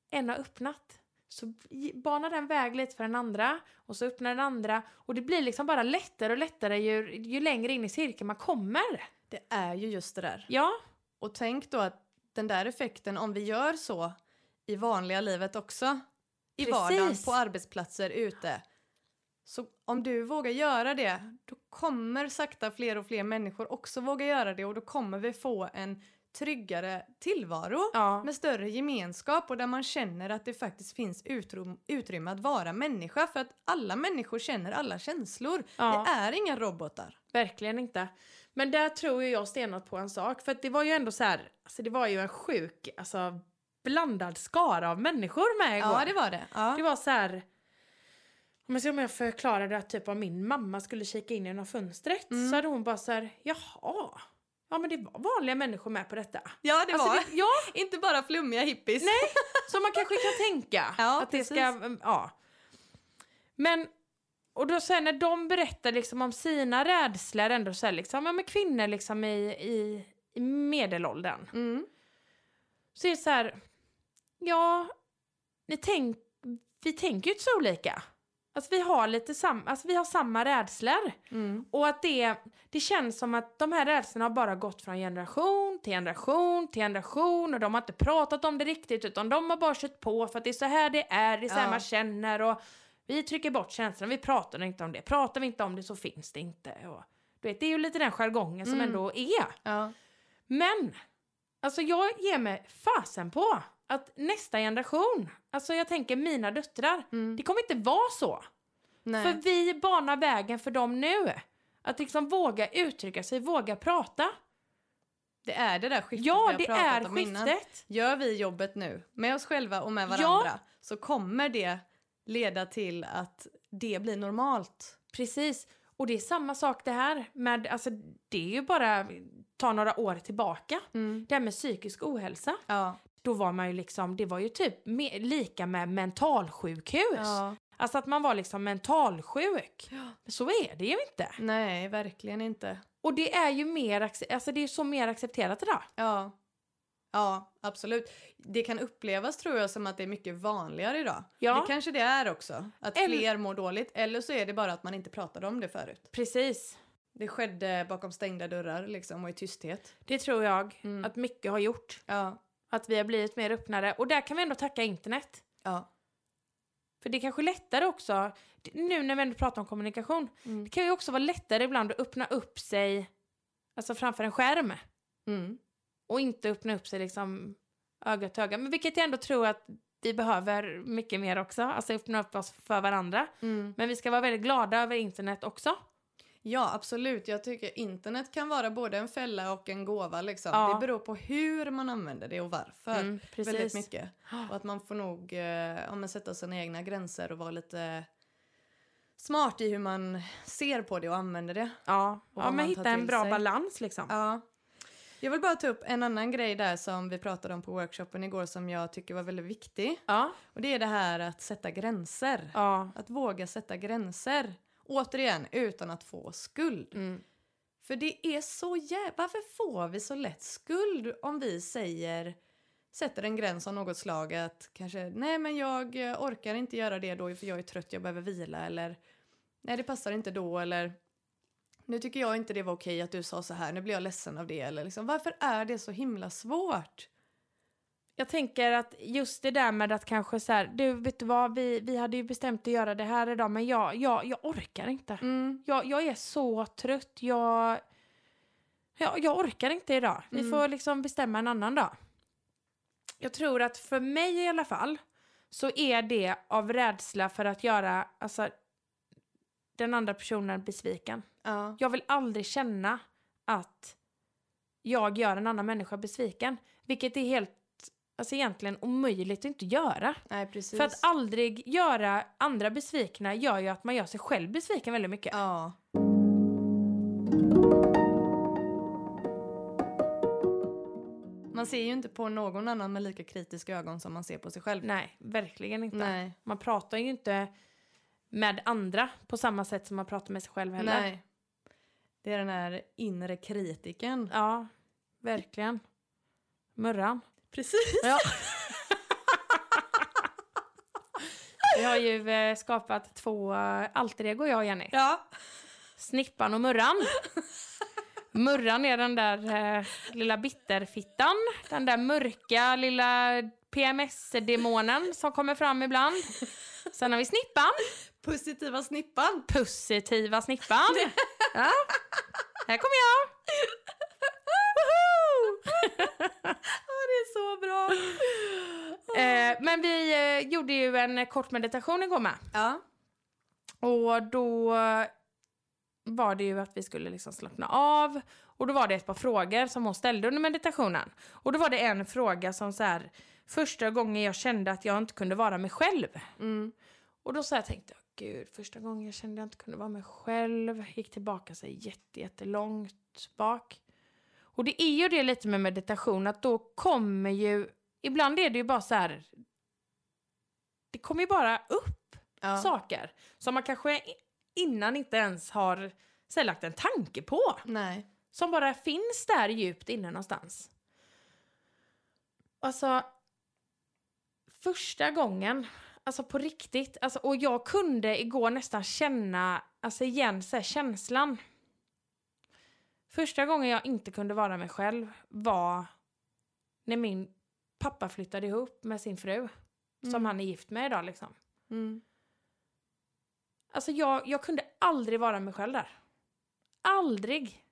[SPEAKER 1] en har öppnat så i- banar den väg lite för den andra och så öppnar den andra och det blir liksom bara lättare och lättare ju, ju längre in i cirkeln man kommer.
[SPEAKER 2] Det är ju just det där.
[SPEAKER 1] Ja,
[SPEAKER 2] Och tänk då att den där effekten, om vi gör så i vanliga livet också, i
[SPEAKER 1] Precis.
[SPEAKER 2] vardagen, på arbetsplatser, ute. Så om du vågar göra det, då kommer sakta fler och fler människor också våga göra det och då kommer vi få en tryggare tillvaro
[SPEAKER 1] Ja.
[SPEAKER 2] med större gemenskap och där man känner att det faktiskt finns utrymme, utrymme att vara människa för att alla människor känner alla känslor.
[SPEAKER 1] ja.
[SPEAKER 2] Det är inga robotar.
[SPEAKER 1] Verkligen inte. Men där tror ju jag stenat på en sak. För att det var ju ändå så här, alltså det var ju en sjuk, alltså blandad skara av människor med igår.
[SPEAKER 2] Ja, det var det. Ja.
[SPEAKER 1] Det var så här... Om jag ser om jag förklarade att typ om min mamma skulle kika in genom fönstret
[SPEAKER 2] Mm.
[SPEAKER 1] så hade hon bara så här, jaha. Ja men det var vanliga människor med på detta.
[SPEAKER 2] Ja, det
[SPEAKER 1] Alltså,
[SPEAKER 2] var.
[SPEAKER 1] det- ja,
[SPEAKER 2] Inte bara flummiga hippies.
[SPEAKER 1] Nej. så man kanske kan tänka.
[SPEAKER 2] Ja,
[SPEAKER 1] att det ska, mm, ja. Men, och då sen när de berättar liksom om sina rädslor ändå så här liksom, ja men kvinnor liksom i, i, i medelåldern.
[SPEAKER 2] Mm.
[SPEAKER 1] Så är det så här, ja, ni tänk, vi tänker ju inte så olika. Alltså vi har lite sam, alltså vi har samma rädslor.
[SPEAKER 2] Mm.
[SPEAKER 1] Och att det, det känns som att de här rädslorna har bara gått från generation till generation till generation och de har inte pratat om det riktigt utan de har bara kört på för att det är så här det är, det är så här
[SPEAKER 2] Ja.
[SPEAKER 1] man känner och vi trycker bort känslorna, vi pratar inte om det. Pratar vi inte om det så finns det inte. Och, du vet, det är ju lite den jargongen som
[SPEAKER 2] Mm.
[SPEAKER 1] ändå är.
[SPEAKER 2] Ja.
[SPEAKER 1] Men, alltså jag ger mig fasen på att nästa generation, alltså jag tänker mina döttrar,
[SPEAKER 2] Mm.
[SPEAKER 1] det kommer inte vara så.
[SPEAKER 2] Nej.
[SPEAKER 1] För vi banar vägen för dem nu. Att liksom våga uttrycka sig, våga prata.
[SPEAKER 2] Det är det där skiftet vi
[SPEAKER 1] ja,
[SPEAKER 2] har
[SPEAKER 1] det
[SPEAKER 2] pratat
[SPEAKER 1] är
[SPEAKER 2] om innan.
[SPEAKER 1] skiftet.
[SPEAKER 2] Gör vi jobbet nu, med oss själva och med
[SPEAKER 1] Ja.
[SPEAKER 2] varandra, så kommer det leda till att det blir normalt.
[SPEAKER 1] Precis. Och det är samma sak det här med, alltså det är ju bara ta några år tillbaka. Det här med psykisk ohälsa.
[SPEAKER 2] Ja.
[SPEAKER 1] Då var man ju liksom, det var ju typ me- lika med mentalsjukhus.
[SPEAKER 2] ja.
[SPEAKER 1] Alltså att man var liksom mentalsjuk.
[SPEAKER 2] Ja.
[SPEAKER 1] Men så är det ju inte.
[SPEAKER 2] Nej, verkligen inte.
[SPEAKER 1] Och det är ju mer, acce- alltså det är ju så mer accepterat idag.
[SPEAKER 2] Ja. Ja, absolut. Det kan upplevas tror jag som att det är mycket vanligare idag.
[SPEAKER 1] Ja.
[SPEAKER 2] Det kanske det är också, att
[SPEAKER 1] Eller-
[SPEAKER 2] fler mår dåligt. Eller så är det bara att man inte pratade om det förut.
[SPEAKER 1] Precis.
[SPEAKER 2] Det skedde bakom stängda dörrar liksom och i tysthet.
[SPEAKER 1] Det tror jag
[SPEAKER 2] Mm.
[SPEAKER 1] att mycket har gjort.
[SPEAKER 2] Ja.
[SPEAKER 1] Att vi har blivit mer öppnare. Och där kan vi ändå tacka internet.
[SPEAKER 2] Ja.
[SPEAKER 1] För det är kanske lättare också, nu när vi ändå pratar om kommunikation,
[SPEAKER 2] Mm.
[SPEAKER 1] det kan ju också vara lättare ibland att öppna upp sig alltså framför en skärm
[SPEAKER 2] Mm.
[SPEAKER 1] och inte öppna upp sig liksom öga till öga. Men vilket jag ändå tror att vi behöver mycket mer också, alltså öppna upp oss för varandra.
[SPEAKER 2] Mm.
[SPEAKER 1] Men vi ska vara väldigt glada över internet också.
[SPEAKER 2] Ja, absolut. Jag tycker internet kan vara både en fälla och en gåva. Liksom.
[SPEAKER 1] Ja.
[SPEAKER 2] Det beror på hur man använder det och varför.
[SPEAKER 1] Mm,
[SPEAKER 2] Väldigt
[SPEAKER 1] precis.
[SPEAKER 2] mycket. Och att man får nog eh, om man sätta sina egna gränser och vara lite smart i hur man ser på det och använder det.
[SPEAKER 1] Ja, ja
[SPEAKER 2] Och vad
[SPEAKER 1] men
[SPEAKER 2] man
[SPEAKER 1] hitta
[SPEAKER 2] tar
[SPEAKER 1] en
[SPEAKER 2] till
[SPEAKER 1] bra
[SPEAKER 2] sig.
[SPEAKER 1] balans liksom.
[SPEAKER 2] Ja. Jag vill bara ta upp en annan grej där som vi pratade om på workshopen igår som jag tycker var väldigt viktig.
[SPEAKER 1] Ja,
[SPEAKER 2] Och det är det här att sätta gränser.
[SPEAKER 1] ja.
[SPEAKER 2] Att våga sätta gränser. Återigen, utan att få skuld.
[SPEAKER 1] Mm.
[SPEAKER 2] För det är så jävla... Varför får vi så lätt skuld om vi säger sätter en gräns av något slag att kanske nej men jag eh, orkar inte göra det då för jag är trött, jag behöver vila eller nej det passar inte då eller nu tycker jag inte det var okej att du sa så här, nu blir jag ledsen av det eller liksom varför är det så himla svårt?
[SPEAKER 1] Jag tänker att just det där med att kanske så här, du vet du vad, vi, vi hade ju bestämt att göra det här idag men jag, jag, jag orkar inte.
[SPEAKER 2] Mm,
[SPEAKER 1] Jag, jag är så trött, jag, jag, jag orkar inte idag. Vi
[SPEAKER 2] Mm.
[SPEAKER 1] får liksom bestämma en annan dag. Jag tror att för mig i alla fall så är det av rädsla för att göra alltså, den andra personen besviken.
[SPEAKER 2] ja,
[SPEAKER 1] Jag vill aldrig känna att jag gör en annan människa besviken. Vilket är helt, alltså egentligen omöjligt att inte göra.
[SPEAKER 2] nej precis.
[SPEAKER 1] För att aldrig göra andra besvikna gör ju att man gör sig själv besviken väldigt mycket.
[SPEAKER 2] ja. Man ser ju inte på någon annan med lika kritiska ögon som man ser på sig själv.
[SPEAKER 1] Nej, verkligen inte.
[SPEAKER 2] Nej.
[SPEAKER 1] Man pratar ju inte med andra på samma sätt som man pratar med sig själv heller.
[SPEAKER 2] Nej. Det är den här inre kritiken.
[SPEAKER 1] Ja, verkligen. Murran.
[SPEAKER 2] Precis.
[SPEAKER 1] Ja. Vi har ju eh, skapat två eh, alter ego jag och Jenny.
[SPEAKER 2] Ja.
[SPEAKER 1] Snippan och Murran. Murran är den där eh, lilla bitterfittan. Den där mörka lilla PMS-demonen som kommer fram ibland. Sen har vi Snippan.
[SPEAKER 2] Positiva snippan.
[SPEAKER 1] Positiva Snippan. Ja. Här kommer jag. Woho!
[SPEAKER 2] det är så bra.
[SPEAKER 1] Eh, men vi eh, gjorde ju en eh, kort meditation igår med.
[SPEAKER 2] Ja.
[SPEAKER 1] Och då eh, var det ju att vi skulle liksom slappna av. Och då var det ett par frågor som hon ställde under meditationen. Och då var det en fråga som så här, första gången jag kände att jag inte kunde vara mig själv.
[SPEAKER 2] Mm.
[SPEAKER 1] Och då så här tänkte jag, gud, första gången jag kände att jag inte kunde vara mig själv. Gick tillbaka så här jätte, jättelångt bak. Och det är ju det lite med meditation, att då kommer ju, ibland är det ju bara så här, det kommer ju bara upp
[SPEAKER 2] Ja.
[SPEAKER 1] saker som man kanske i- innan inte ens har så här, lagt en tanke på.
[SPEAKER 2] Nej.
[SPEAKER 1] Som bara finns där djupt inne någonstans. Alltså, första gången, alltså på riktigt, alltså, och jag kunde igår nästan känna, alltså igen så här, känslan. Första gången jag inte kunde vara mig själv var när min pappa flyttade ihop med sin fru,
[SPEAKER 2] Mm.
[SPEAKER 1] som han är gift med idag liksom.
[SPEAKER 2] Mm.
[SPEAKER 1] Alltså jag, jag kunde aldrig vara mig själv där. Aldrig.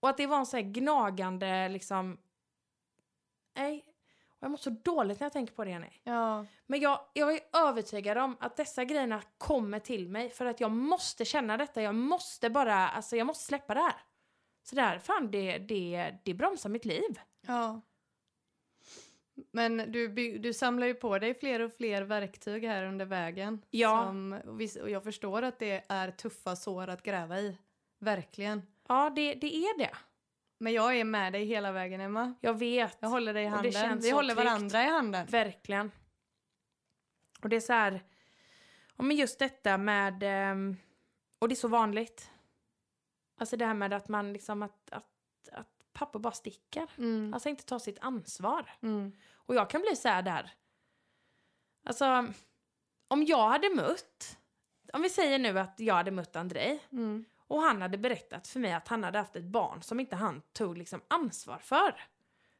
[SPEAKER 1] Och att det var en så här gnagande liksom... Nej. Och jag mår så dåligt när jag tänker på det, Jenny.
[SPEAKER 2] Ja.
[SPEAKER 1] Men jag, jag är övertygad om att dessa grejerna kommer till mig för att jag måste känna detta. Jag måste bara, alltså jag måste släppa det här. Så det här, fan det, det, det bromsar mitt liv.
[SPEAKER 2] Ja. Men du, by- du samlar ju på dig fler och fler verktyg här under vägen.
[SPEAKER 1] Ja.
[SPEAKER 2] Som, och vis- och jag förstår att det är tuffa sår att gräva i. Verkligen.
[SPEAKER 1] Ja, det, det är det.
[SPEAKER 2] Men jag är med dig hela vägen, Emma.
[SPEAKER 1] Jag vet.
[SPEAKER 2] Jag håller dig i
[SPEAKER 1] Och det
[SPEAKER 2] handen.
[SPEAKER 1] känns
[SPEAKER 2] Vi
[SPEAKER 1] så
[SPEAKER 2] håller
[SPEAKER 1] tryggt.
[SPEAKER 2] varandra i handen.
[SPEAKER 1] Verkligen. Och det är så här, ja men just detta med, ehm, och det är så vanligt. Alltså det här med att man liksom, att, att, att pappa bara sticker.
[SPEAKER 2] Mm.
[SPEAKER 1] Alltså inte tar sitt ansvar.
[SPEAKER 2] Mm.
[SPEAKER 1] Och jag kan bli så här där, alltså om jag hade mött, om vi säger nu att jag hade mött Andrei
[SPEAKER 2] Mm.
[SPEAKER 1] och han hade berättat för mig att han hade haft ett barn som inte han tog liksom ansvar för.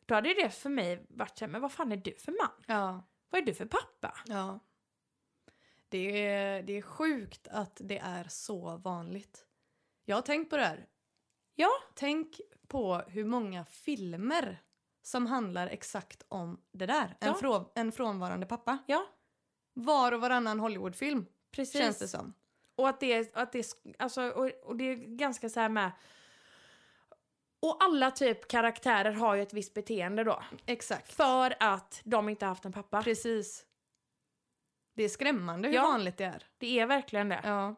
[SPEAKER 1] Då hade ju det för mig varit så här, men vad fan är du för man?
[SPEAKER 2] Ja.
[SPEAKER 1] Vad är du för pappa?
[SPEAKER 2] Ja. Det är, det är sjukt att det är så vanligt. Jag har tänkt på det här.
[SPEAKER 1] Ja.
[SPEAKER 2] Tänk på hur många filmer som handlar exakt om det där. En,
[SPEAKER 1] Ja.
[SPEAKER 2] frå, en frånvarande pappa.
[SPEAKER 1] Ja.
[SPEAKER 2] Var och varannan Hollywoodfilm,
[SPEAKER 1] Precis.
[SPEAKER 2] känns det som.
[SPEAKER 1] Och att det är, att det är, sk- alltså, och, och det är ganska så här med... Och alla typ karaktärer har ju ett visst beteende då.
[SPEAKER 2] Exakt.
[SPEAKER 1] För att de inte haft en pappa.
[SPEAKER 2] Precis. Det är skrämmande hur
[SPEAKER 1] Ja.
[SPEAKER 2] vanligt det är.
[SPEAKER 1] Det är verkligen det. Ja,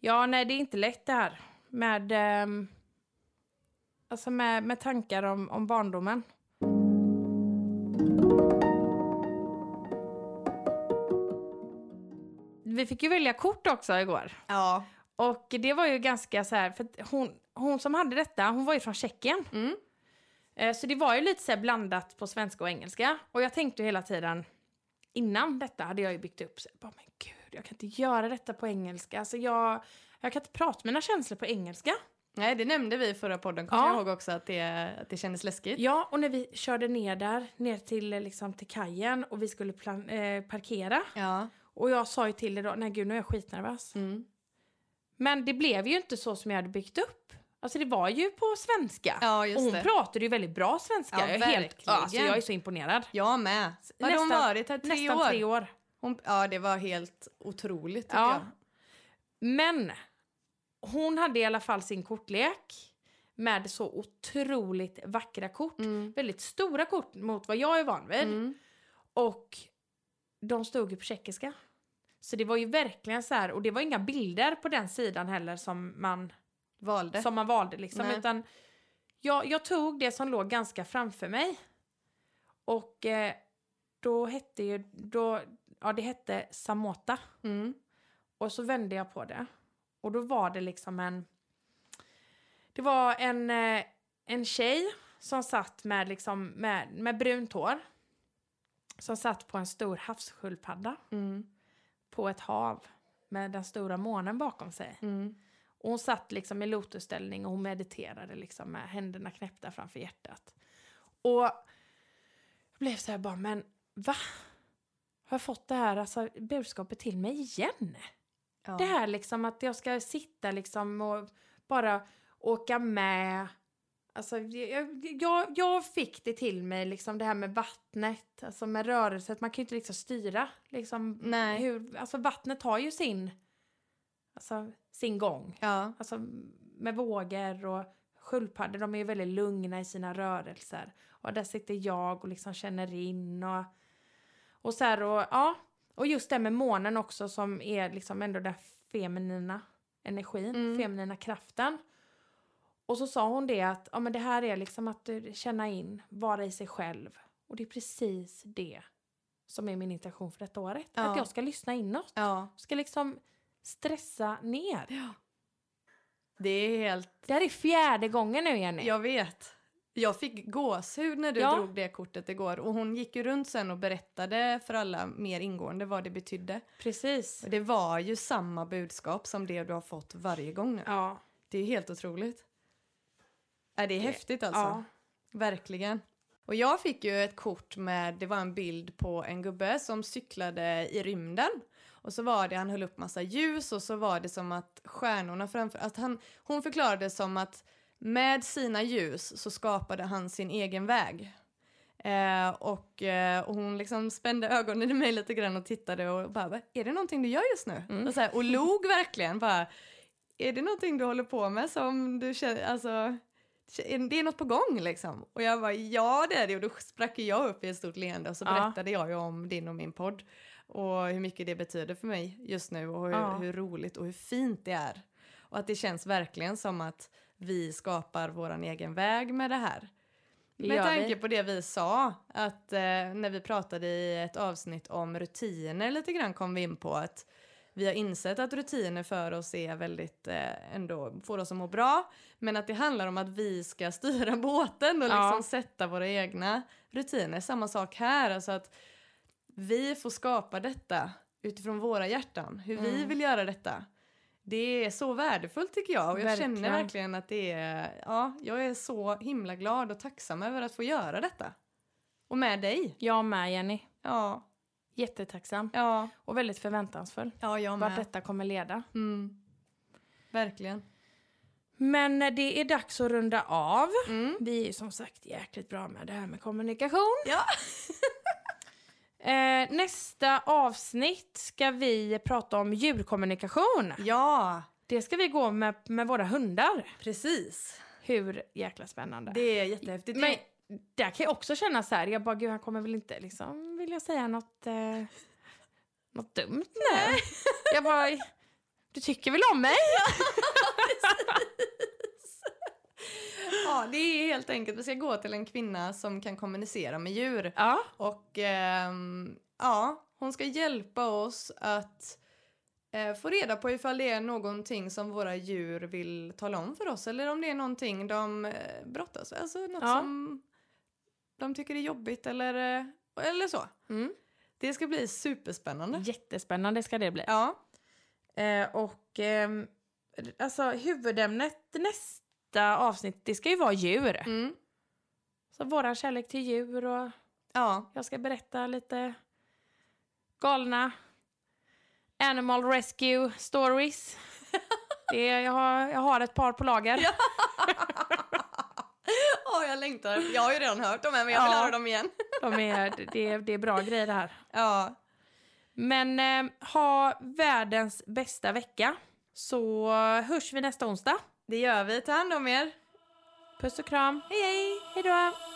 [SPEAKER 2] Ja.
[SPEAKER 1] nej det är inte lätt det här. Med, ehm, alltså med, med tankar om, om barndomen. Vi fick ju välja kort också igår.
[SPEAKER 2] Ja.
[SPEAKER 1] Och det var ju ganska så här, för att hon, hon som hade detta, hon var ju från Tjeckien.
[SPEAKER 2] Mm.
[SPEAKER 1] Eh, Så det var ju lite så här blandat på svenska och engelska. Och jag tänkte ju hela tiden, innan detta hade jag ju byggt upp, så här, bara, men gud, jag kan inte göra detta på engelska. Alltså jag, jag kan inte prata mina känslor på engelska.
[SPEAKER 2] Nej, det nämnde vi i förra podden. Kommer
[SPEAKER 1] Ja.
[SPEAKER 2] jag ihåg också att det, att det kändes läskigt.
[SPEAKER 1] Ja, och när vi körde ner där, ner till, eh, liksom, till kajen och vi skulle plan- eh, parkera.
[SPEAKER 2] Ja.
[SPEAKER 1] Och jag sa ju till dig då, nej gud nu är jag skitnervös.
[SPEAKER 2] Mm.
[SPEAKER 1] Men det blev ju inte så som jag hade byggt upp. Alltså det var ju på svenska.
[SPEAKER 2] Ja,
[SPEAKER 1] Och
[SPEAKER 2] just
[SPEAKER 1] hon
[SPEAKER 2] det.
[SPEAKER 1] pratade ju väldigt bra svenska. jag,
[SPEAKER 2] Ja,
[SPEAKER 1] är helt,
[SPEAKER 2] verkligen.
[SPEAKER 1] alltså, jag är så imponerad.
[SPEAKER 2] Jag med. Har
[SPEAKER 1] Nästan-
[SPEAKER 2] hon varit här tre
[SPEAKER 1] Nästan
[SPEAKER 2] år?
[SPEAKER 1] tre år.
[SPEAKER 2] Hon, ja, det var helt otroligt tycker
[SPEAKER 1] Ja. Men hon hade i alla fall sin kortlek med så otroligt vackra kort.
[SPEAKER 2] jag. Mm.
[SPEAKER 1] Väldigt stora kort mot vad jag är van vid.
[SPEAKER 2] Mm.
[SPEAKER 1] Och de stod ju på tjeckiska. Så det var ju verkligen så här, och det var inga bilder på den sidan heller som man
[SPEAKER 2] Valde.
[SPEAKER 1] som man valde liksom.
[SPEAKER 2] Nej.
[SPEAKER 1] Utan jag, jag tog det som låg ganska framför mig. Och eh, då hette ju, då, ja det hette Samota.
[SPEAKER 2] Mm.
[SPEAKER 1] Och så vände jag på det. Och då var det liksom en, det var en, eh, en tjej som satt med liksom, med, med brunt hår. Som satt på en stor havssköldpadda
[SPEAKER 2] Mm.
[SPEAKER 1] på ett hav med den stora månen bakom sig.
[SPEAKER 2] Mm.
[SPEAKER 1] Och hon satt liksom i lotusställning och hon mediterade liksom med händerna knäppta framför hjärtat. Och jag blev så här bara, men va? Har jag fått det här alltså, budskapet till mig igen?
[SPEAKER 2] Ja.
[SPEAKER 1] Det här liksom att jag ska sitta liksom och bara åka med. Alltså, jag, jag, jag fick det till mig, liksom det här med vattnet, alltså med rörelset. Man kan ju inte liksom styra. Liksom,
[SPEAKER 2] Nej.
[SPEAKER 1] hur, alltså vattnet har ju sin, alltså, sin gång.
[SPEAKER 2] Ja.
[SPEAKER 1] Alltså med vågor och sköldpaddor, de är ju väldigt lugna i sina rörelser. Och där sitter jag och liksom känner in och, och så här och ja. Och just det med månen också som är liksom ändå den feminina energin,
[SPEAKER 2] Mm.
[SPEAKER 1] feminina kraften. Och så sa hon det att ja, men det här är liksom att eh, känna in, vara i sig själv. Och det är precis det som är min intention för detta året.
[SPEAKER 2] Ja.
[SPEAKER 1] Att jag ska lyssna inåt.
[SPEAKER 2] ja.
[SPEAKER 1] Ska liksom stressa ner.
[SPEAKER 2] Det är helt...
[SPEAKER 1] Det här är fjärde gången nu Jenny.
[SPEAKER 2] Jag vet. Jag fick gåshud när du
[SPEAKER 1] Ja.
[SPEAKER 2] drog det kortet igår och hon gick ju runt sen och berättade för alla mer ingående vad det betydde.
[SPEAKER 1] Precis.
[SPEAKER 2] Och det var ju samma budskap som det du har fått varje gång nu.
[SPEAKER 1] Ja.
[SPEAKER 2] Det är helt otroligt. Är det är häftigt alltså.
[SPEAKER 1] ja.
[SPEAKER 2] Verkligen. Och jag fick ju ett kort med, det var en bild på en gubbe som cyklade i rymden. Och så var det, han höll upp massa ljus och så var det som att stjärnorna framför, att han, hon förklarade som att med sina ljus så skapade han sin egen väg. Eh, och, eh, och hon liksom spände ögonen i mig lite grann och tittade och bara, "Va, är det någonting du gör just nu?
[SPEAKER 1] Mm.
[SPEAKER 2] Och, så här, och log verkligen bara, är det någonting du håller på med som du känner, alltså är- det är något på gång liksom. Och jag bara, ja det är det. Och då sprack ju jag upp i ett stort leende och så
[SPEAKER 1] Ja.
[SPEAKER 2] berättade jag ju om din och min podd. Och hur mycket det betyder för mig just nu och hur,
[SPEAKER 1] Ja.
[SPEAKER 2] hur roligt och hur fint det är. Och att det känns verkligen som att vi skapar vår egen väg med det här.
[SPEAKER 1] Det
[SPEAKER 2] Med
[SPEAKER 1] gör vi.
[SPEAKER 2] tanke på det vi sa, att eh, när vi pratade i ett avsnitt om rutiner lite grann kom vi in på att vi har insett att rutiner för oss är väldigt, eh, ändå får oss att må bra, men att det handlar om att vi ska styra båten och
[SPEAKER 1] Ja.
[SPEAKER 2] liksom sätta våra egna rutiner. Samma sak här, alltså att vi får skapa detta utifrån våra hjärtan, hur vi
[SPEAKER 1] Mm.
[SPEAKER 2] vill göra detta. Det är så värdefullt tycker jag och jag känner
[SPEAKER 1] Verkligen.
[SPEAKER 2] verkligen att det är, ja, jag är så himla glad och tacksam över att få göra detta. Och med dig.
[SPEAKER 1] Jag med Jenny.
[SPEAKER 2] Ja,
[SPEAKER 1] Jättetacksam.
[SPEAKER 2] ja.
[SPEAKER 1] Och väldigt förväntansfull.
[SPEAKER 2] Ja, jag
[SPEAKER 1] Vart detta kommer leda.
[SPEAKER 2] Mm. Verkligen.
[SPEAKER 1] Men eh, det är dags att runda av.
[SPEAKER 2] Mm.
[SPEAKER 1] Vi är ju som sagt jäkligt bra med det här med kommunikation.
[SPEAKER 2] Ja.
[SPEAKER 1] Eh, nästa avsnitt ska vi prata om djurkommunikation.
[SPEAKER 2] Ja,
[SPEAKER 1] Det ska vi gå med, med våra hundar.
[SPEAKER 2] precis.
[SPEAKER 1] Hur jäkla spännande.
[SPEAKER 2] Det är jättehäftigt.
[SPEAKER 1] Men där kan jag också känna så här, jag bara gud han kommer väl inte liksom vilja säga något, eh, något dumt nu. jag bara, du tycker väl om mig?
[SPEAKER 2] ja, det är helt enkelt, vi ska gå till en kvinna som kan kommunicera med djur.
[SPEAKER 1] Ja.
[SPEAKER 2] Och ehm, ja, hon ska hjälpa oss att eh, få reda på ifall det är någonting som våra djur vill tala om för oss eller om det är någonting de eh, brottas med, alltså något
[SPEAKER 1] Ja.
[SPEAKER 2] som de tycker är jobbigt eller, eh, eller så.
[SPEAKER 1] Mm.
[SPEAKER 2] Det ska bli superspännande.
[SPEAKER 1] Jättespännande ska det bli.
[SPEAKER 2] Ja.
[SPEAKER 1] Eh, och ehm, alltså huvudämnet nästa avsnitt, det ska ju vara djur.
[SPEAKER 2] Mm.
[SPEAKER 1] Så våran kärlek till djur och
[SPEAKER 2] Ja.
[SPEAKER 1] jag ska berätta lite galna animal rescue stories. det, jag, har, jag har ett par på lager.
[SPEAKER 2] Åh, jag längtar. Jag har ju redan hört dem här, men jag vill
[SPEAKER 1] Ja.
[SPEAKER 2] höra dem igen.
[SPEAKER 1] De är, det, är- det är bra grejer det här.
[SPEAKER 2] Ja.
[SPEAKER 1] Men eh, ha världens bästa vecka. Så hörs vi nästa onsdag.
[SPEAKER 2] Det gör vi. Ta hand om er.
[SPEAKER 1] Puss och kram.
[SPEAKER 2] Hej, hej!
[SPEAKER 1] Hej då!